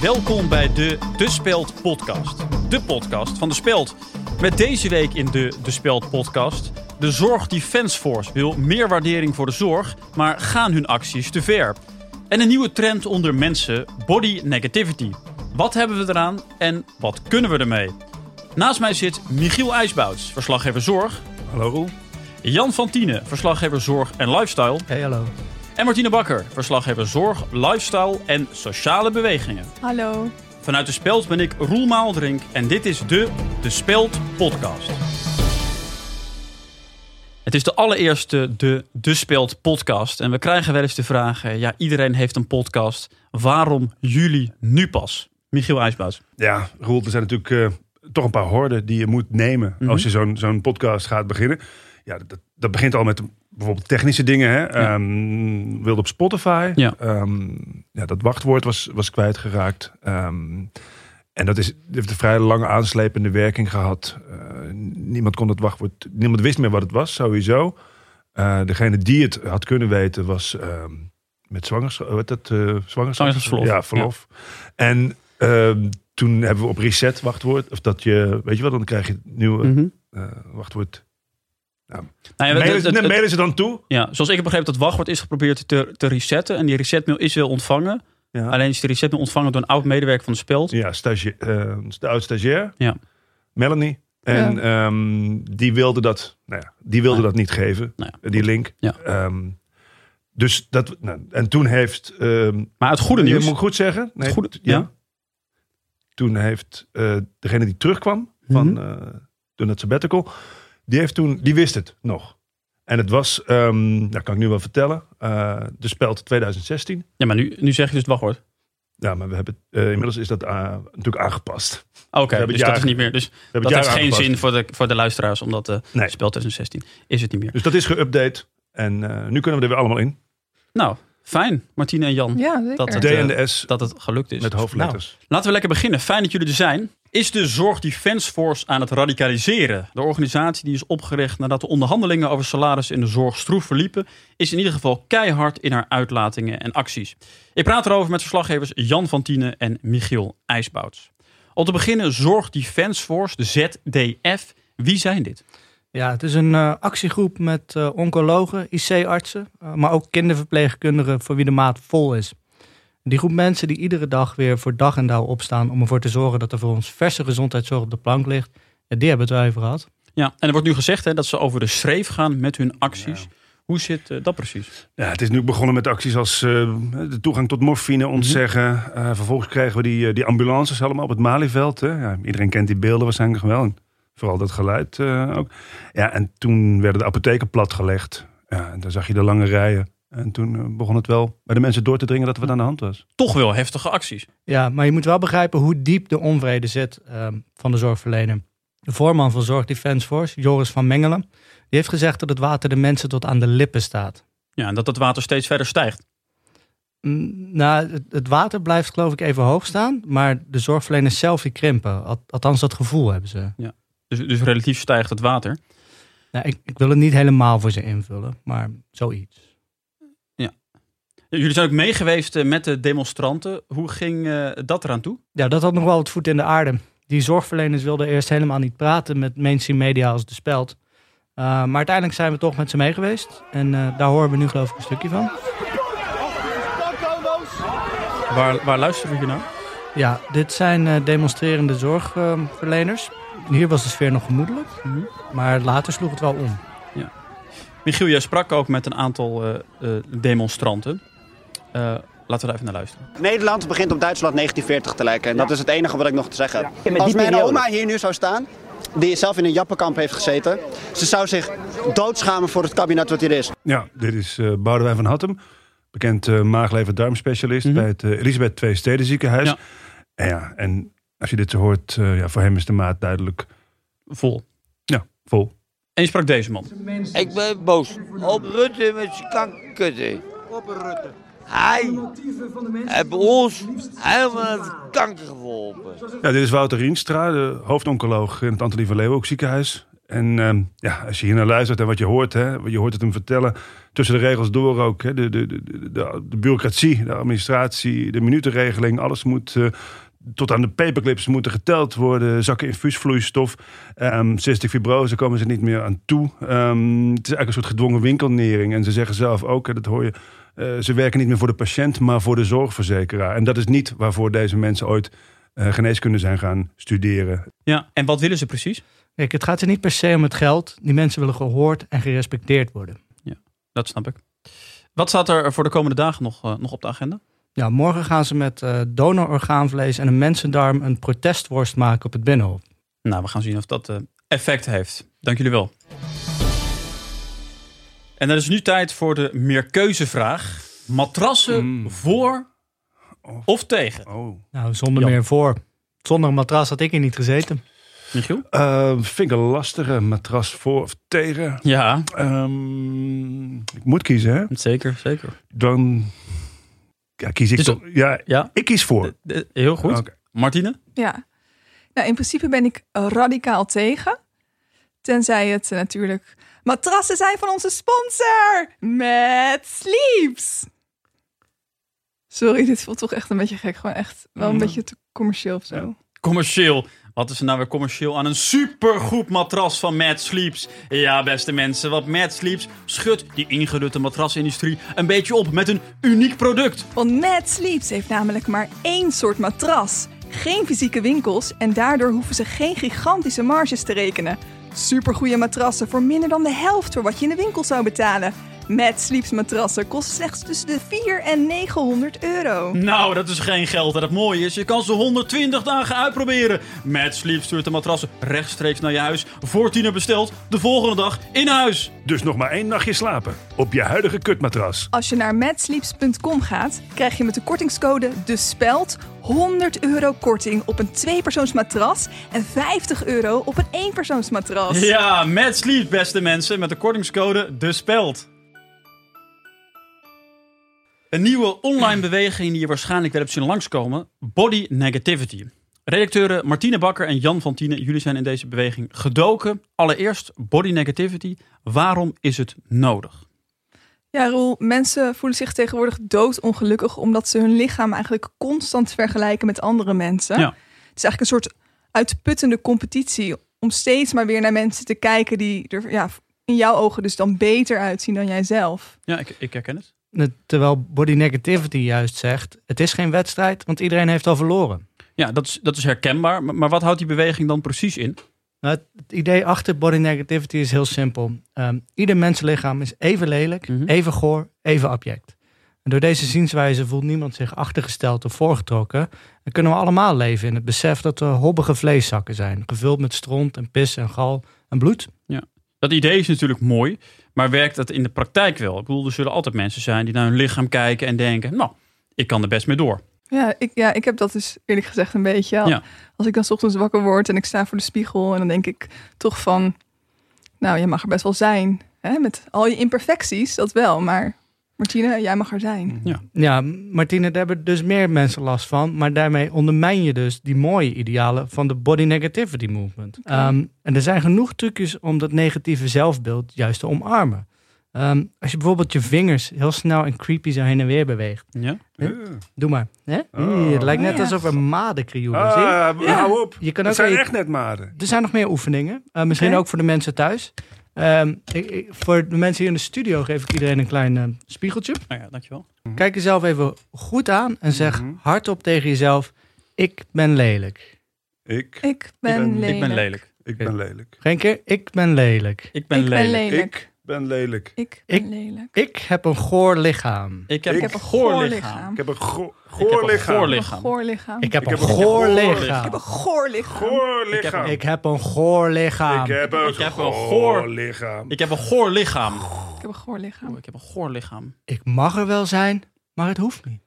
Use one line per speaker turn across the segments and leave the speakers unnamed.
Welkom bij de De Speld podcast. De podcast van De Speld. Met deze week in de De Speld podcast... De Zorg Defense Force wil meer waardering voor de zorg... maar gaan hun acties te ver? En een nieuwe trend onder mensen, body negativity. Wat hebben we eraan en wat kunnen we ermee? Naast mij zit Michiel IJsbouts, verslaggever Zorg.
Hallo Roel.
Jan van Tienen, verslaggever Zorg en Lifestyle.
Hey, hallo.
En Martine Bakker, verslaggever Zorg, Lifestyle en Sociale Bewegingen.
Hallo.
Vanuit De Speld ben ik Roel Maaldrink en dit is de De Speld podcast. Het is de allereerste De De Speld podcast en we krijgen wel eens de vraag... eh, ja, iedereen heeft een podcast, waarom jullie nu pas? Michiel IJsbaas.
Ja, Roel, er zijn natuurlijk eh, toch een paar horden die je moet nemen
Mhm.
als je zo'n zo'n podcast gaat beginnen. Ja, dat, dat begint al met bijvoorbeeld technische dingen. Hè?
Ja.
Ehm, wilde op Spotify.
Ja.
Ehm, ja, dat wachtwoord was, was kwijtgeraakt. Ehm, en dat is, heeft een vrij lange aanslepende werking gehad. Eh, niemand kon het wachtwoord, niemand wist meer wat het was, sowieso. Eh, degene die het had kunnen weten was ehm, met zwangerschap, wat dat, eh, zwangerschap?
Zwangerschapsverlof.
Ja, verlof. En ehm, toen hebben we op reset wachtwoord, of dat je, weet je wel, dan krijg je het nieuwe
Hm.
eh, wachtwoord.
Nou ja,
mailen,
het- het-
nee,
het-
mailen ze dan toe?
ja, zoals ik heb begrepen, dat wachtwoord is geprobeerd te, te resetten. En die resetmail is wel ontvangen.
Ja.
Alleen is die resetmail ontvangen door een oud medewerker van de Speld.
Ja, stagia- eh, de oud stagiair.
Ja.
Melanie. En ehm, die wilde dat, nou ja, die wilde
Ah.
dat niet geven,
Nou ja,
eh, die link.
Ja.
Ehm, dus dat, nou, en toen heeft, ehm,
Maar het goede
nee,
nieuws...
moet ik goed zeggen? Nee,
goede-
t- ja.
ja.
Toen heeft eh, degene die terugkwam van
Mhm.
eh, toen dat sabbatical, die heeft toen, die wist het nog. En het was, ehm dat kan ik nu wel vertellen, eh, de speld 2016.
Ja, maar nu, nu zeg je dus het wachtwoord.
Ja, maar we hebben, eh, inmiddels is dat ah, natuurlijk aangepast.
Oké,
hebben
dus
het
dat
jaar-
is niet meer. Dus
We
dat
hebben het jaar
heeft geen
aangepast.
zin voor de, voor de luisteraars, omdat eh
Nee.
spel 2016 is het niet meer.
Dus dat is geüpdate. En eh, nu kunnen we er weer allemaal in.
Nou, fijn, Martine en Jan,
Ja, zeker.
Dat-
D
eh,
en de S
dat het gelukt is. Nou,
met hoofdletters.
Laten we lekker beginnen. Fijn dat jullie er zijn. Is de Zorg Defense Force aan het radicaliseren? De organisatie die is opgericht nadat de onderhandelingen over salaris in de zorg stroef verliepen, is in ieder geval keihard in haar uitlatingen en acties. Ik praat erover met verslaggevers Jan van Tienen en Michiel IJsbouts. Om te beginnen, Zorg Defense Force, de ZDF. Wie zijn dit?
Ja, het is een eh, actiegroep met eh, oncologen, IC-artsen, eh, maar ook kinderverpleegkundigen voor wie de maat vol is. Die groep mensen die iedere dag weer voor dag en dauw opstaan om ervoor te zorgen dat er voor ons verse gezondheidszorg op de plank ligt, ja, die hebben we het wel even gehad.
Ja, en er wordt nu gezegd hè, dat ze over de schreef gaan met hun acties. Hoe zit eh, dat precies?
Ja, het is nu begonnen met acties als eh, de toegang tot morfine ontzeggen.
Mhm.
Eh, vervolgens kregen we die, eh, die ambulances allemaal op het Malieveld. Hè. Ja, iedereen kent die beelden waarschijnlijk wel. En vooral dat geluid eh, ook. Ja, en toen werden de apotheken platgelegd. Ja, en dan zag je de lange rijen. En toen eh, begon het wel bij de mensen door te dringen dat er wat aan de hand was.
Toch wel heftige acties.
Ja, maar je moet wel begrijpen hoe diep de onvrede zit ehm, van de zorgverlener. De voorman van Zorg Defence Force, Joris van Mengelen, die heeft gezegd dat het water de mensen tot aan de lippen staat.
Ja, en dat het water steeds verder stijgt.
Mm, Nou, het, het water blijft geloof ik even hoog staan, maar de zorgverleners zelf die krimpen. Al- althans, dat gevoel hebben ze.
Dus, dus relatief stijgt het water.
Nou, ik, ik wil het niet helemaal voor ze invullen, maar zoiets.
Jullie zijn ook meegeweest eh, met de demonstranten. Hoe ging eh, dat eraan toe?
Ja, dat had nog wel het voet in de aarde. Die zorgverleners wilden eerst helemaal niet praten met mainstream media als de speld. Uh, maar uiteindelijk zijn we toch met ze mee geweest. En eh, daar horen we nu geloof ik een stukje van.
Waar, waar luisteren we hier naar?
Ja, dit zijn eh, demonstrerende zorgverleners. Hier was de sfeer nog gemoedelijk,
Mhm.
maar later sloeg het wel om.
Michiel, jij sprak ook met een aantal eh, eh, demonstranten. Eh, laten we daar even naar luisteren.
Nederland begint op Duitsland 1940 te lijken. En dat is het enige wat ik nog te zeggen heb.
met die
Als mijn
periode.
oma hier nu zou staan, die zelf in een jappenkamp heeft gezeten, ze zou zich doodschamen voor het kabinet wat hier is.
Ja, dit is eh Boudewijn van Hattem. Bekend eh maaglever-darmspecialist
Mhm.
bij het eh, Elisabeth II Steden ziekenhuis.
Ja.
En, ja, en als je dit zo hoort, eh, ja, voor hem is de maat duidelijk
Vol.
ja, vol.
En je sprak deze man.
Ik ben boos op Rutte met zijn kankerkutte. Op Rutte. Hij heeft ons helemaal aan het kanker geholpen.
Ja, dit is Wouter Rienstra, de hoofdoncoloog in het Antonie van Leeuwenhoek ziekenhuis. En ehm, ja, als je hier naar luistert en wat je hoort, hè, je hoort het hem vertellen, tussen de regels door ook. Hè, de, de, de, de, de bureaucratie, de administratie, de minutenregeling, alles moet eh, tot aan de paperclips moeten geteld worden. Zakken infuusvloeistof, ehm cystic fibrose komen ze niet meer aan toe. Ehm, het is eigenlijk een soort gedwongen winkelnering. En ze zeggen zelf ook, hè, dat hoor je, eh, ze werken niet meer voor de patiënt, maar voor de zorgverzekeraar. En dat is niet waarvoor deze mensen ooit eh, geneeskunde zijn gaan studeren.
Ja, en wat willen ze precies?
Kijk, het gaat er niet per se om het geld. Die mensen willen gehoord en gerespecteerd worden.
Dat snap ik. Wat staat er voor de komende dagen nog, eh, nog op de agenda?
Ja, morgen gaan ze met eh, donororgaanvlees en een mensendarm een protestworst maken op het Binnenhof.
Nou, we gaan zien of dat eh, effect heeft. Dank jullie wel. En dan is nu tijd voor de meerkeuzevraag. Matrassen
Mm.
voor
Of-
of tegen?
Oh.
Nou, zonder
Ja.
meer voor. Zonder een matras had ik er niet gezeten.
Michiel?
Eh, vind ik een lastige matras voor of tegen.
Ja,
Ehm, ik moet kiezen, hè?
zeker, zeker.
Dan ja, kies ik
Dus-
toch. Ja,
Ja,
ik kies voor.
heel goed.
Oké.
Martine?
Ja. Nou, in principe ben ik radicaal tegen. Tenzij het eh, natuurlijk matrassen zijn van onze sponsor met Sleeps. Sorry, dit voelt toch echt een beetje gek. Gewoon echt wel een beetje te commercieel of zo.
Commercieel. Wat is er nou weer commercieel aan een supergoed matras van Mad Sleeps? Ja, beste mensen, wat Mad Sleeps schudt die ingerutte matrasindustrie een beetje op met een uniek product.
Want Mad Sleeps heeft namelijk maar één soort matras. Geen fysieke winkels en daardoor hoeven ze geen gigantische marges te rekenen. Supergoeie matrassen voor minder dan de helft voor wat je in de winkel zou betalen. Mad Sleeps matrassen kosten slechts tussen de 4 en 900 euro.
Nou, dat is geen geld. En het mooie is, je kan ze 120 dagen uitproberen. Mad Sleep stuurt de matrassen rechtstreeks naar je huis. Voor tiener besteld, de volgende dag in huis.
Dus nog maar één nachtje slapen. Op je huidige kutmatras.
Als je naar madsleeps.com gaat, krijg je met de kortingscode de speld 100 euro korting op een tweepersoonsmatras en 50 euro op een eenpersoonsmatras.
Ja, Mad Sleep, beste mensen, met de kortingscode de speld. Een nieuwe online beweging die je waarschijnlijk wel hebt zien langskomen: body negativity. Redacteuren Martine Bakker en Jan van Tienen, jullie zijn in deze beweging gedoken. Allereerst body negativity. Waarom is het nodig?
Ja, Roel, mensen voelen zich tegenwoordig doodongelukkig omdat ze hun lichaam eigenlijk constant vergelijken met andere mensen.
Ja.
Het is eigenlijk een soort uitputtende competitie om steeds maar weer naar mensen te kijken die er ja, in jouw ogen dus dan beter uitzien dan jijzelf.
Ja, ik, ik herken het.
Net- Terwijl body negativity juist zegt, het is geen wedstrijd, want iedereen heeft al verloren.
Ja, dat is, dat is herkenbaar. Maar, maar wat houdt die beweging dan precies in?
Nou, het, het idee achter body negativity is heel simpel. Ehm, ieder mensenlichaam is even lelijk,
Mhm.
even goor, even abject. En door deze zienswijze voelt niemand zich achtergesteld of voorgetrokken. En kunnen we allemaal leven in het besef dat we hobbige vleeszakken zijn. Gevuld met stront en pis en gal en bloed.
Dat idee is natuurlijk mooi, maar werkt dat in de praktijk wel? Ik bedoel, er zullen altijd mensen zijn die naar hun lichaam kijken en denken: Nou, ik kan er best mee door.
Ja, ik, ja, ik heb dat dus eerlijk gezegd een beetje.
Ja.
Als ik dan 's ochtends wakker word en ik sta voor de spiegel en dan denk ik toch van, nou, je mag er best wel zijn. Hè? Met al je imperfecties, dat wel, maar Martine, jij mag er zijn.
Mm.
Ja, Martine, daar hebben dus meer mensen last van. Maar daarmee ondermijn je dus die mooie idealen van de body negativity movement. Ehm, en er zijn genoeg trucjes om dat negatieve zelfbeeld juist te omarmen. Ehm, als je bijvoorbeeld je vingers heel snel en creepy zo heen en weer beweegt.
Ja?
Eh,
Doe maar. Hè? Ih, het lijkt net
Oh, Ja.
alsof er maden krioelen. zie je?
Ah, hou op.
Je kan
Het
ook
zijn
je-
echt net maden.
er zijn nog meer oefeningen. Eh, misschien
Oké.
ook voor de mensen thuis. Ehm, ik, ik- voor de mensen hier in de studio geef ik iedereen een klein eh, spiegeltje.
Nou ja, dankjewel.
Kijk jezelf even goed aan en zeg hardop tegen jezelf: Ik ben lelijk.
Ik,
Ik ben,
ben- ik
lelijk.
Ik ben lelijk.
ik ben lelijk.
Geen keer, ik ben lelijk.
Ik ben
Ik ben
lelijk.
lelijk.
Ik ben lelijk.
Ik
Ik-
ben lelijk.
Ik heb een goor lichaam.
Ik heb
Ik
een
heb een
goor
goor
lichaam.
lichaam.
Ik heb een go-
Ik heb
goor
een
lichaam.
goor
Een
lichaam.
goor lichaam.
Ik heb
Ik
een
heb een
goor
goor
lichaam.
Ik heb een goor lichaam.
Goor
lichaam.
lichaam.
Ik heb een goor lichaam.
Ik eh, heb
Ik heb
een
een
goor
goor-
lichaam.
Ik heb een goor lichaam.
Ik heb een goor
Oeh,
lichaam.
ik heb een goor lichaam.
Ik mag er wel zijn, maar het hoeft niet.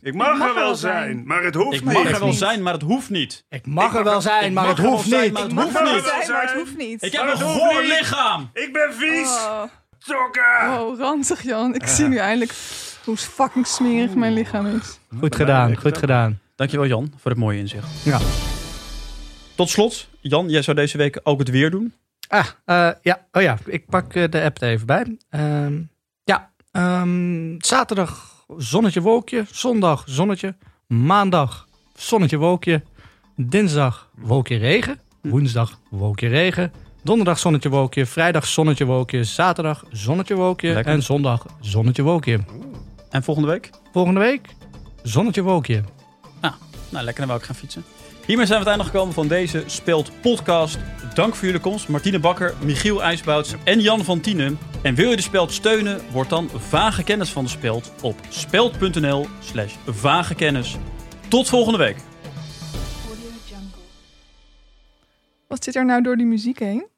Ik mag er wel zijn, maar het hoeft
Ik mag er
niet.
wel
niet.
zijn, maar het hoeft niet.
Ik mag er wel zijn, maar
mag
het
er wel
hoeft
zijn,
niet.
maar het
Ik mag
hoeft
er wel
niet.
zijn, maar het hoeft niet.
Ik heb
Maar
een
het hoeft
goor
niet.
lichaam.
Ik ben vies.
Oh,
Sokken.
oh, ranzig Jan. Ik
Ah.
zie nu eindelijk hoe fucking smerig mijn lichaam is.
Goed gedaan, goed gedaan.
Dankjewel Jan voor het mooie inzicht.
Ja.
Tot slot, Jan, jij zou deze week ook het weer doen.
Ah, eh, ja. Oh ja, ik pak eh, de app er even bij. Ehm, ja, ehm, zaterdag zonnetje wolkje, zondag zonnetje, maandag zonnetje wolkje, dinsdag wolkje regen, woensdag wolkje regen, donderdag zonnetje wolkje, vrijdag zonnetje wolkje, zaterdag zonnetje wolkje
Lekker.
en zondag zonnetje wolkje.
En volgende week?
Volgende week zonnetje wolkje.
Nou, lekker naar welk gaan fietsen. Hiermee zijn we aan het einde gekomen van deze Speelt Podcast. Dank voor jullie komst. Martine Bakker, Michiel IJsbouts en Jan van Tienen. En wil je de Speld steunen? Word dan vage kennis van de Speld op speld.nl slash vage kennis. Tot volgende week.
Wat zit er nou door die muziek heen?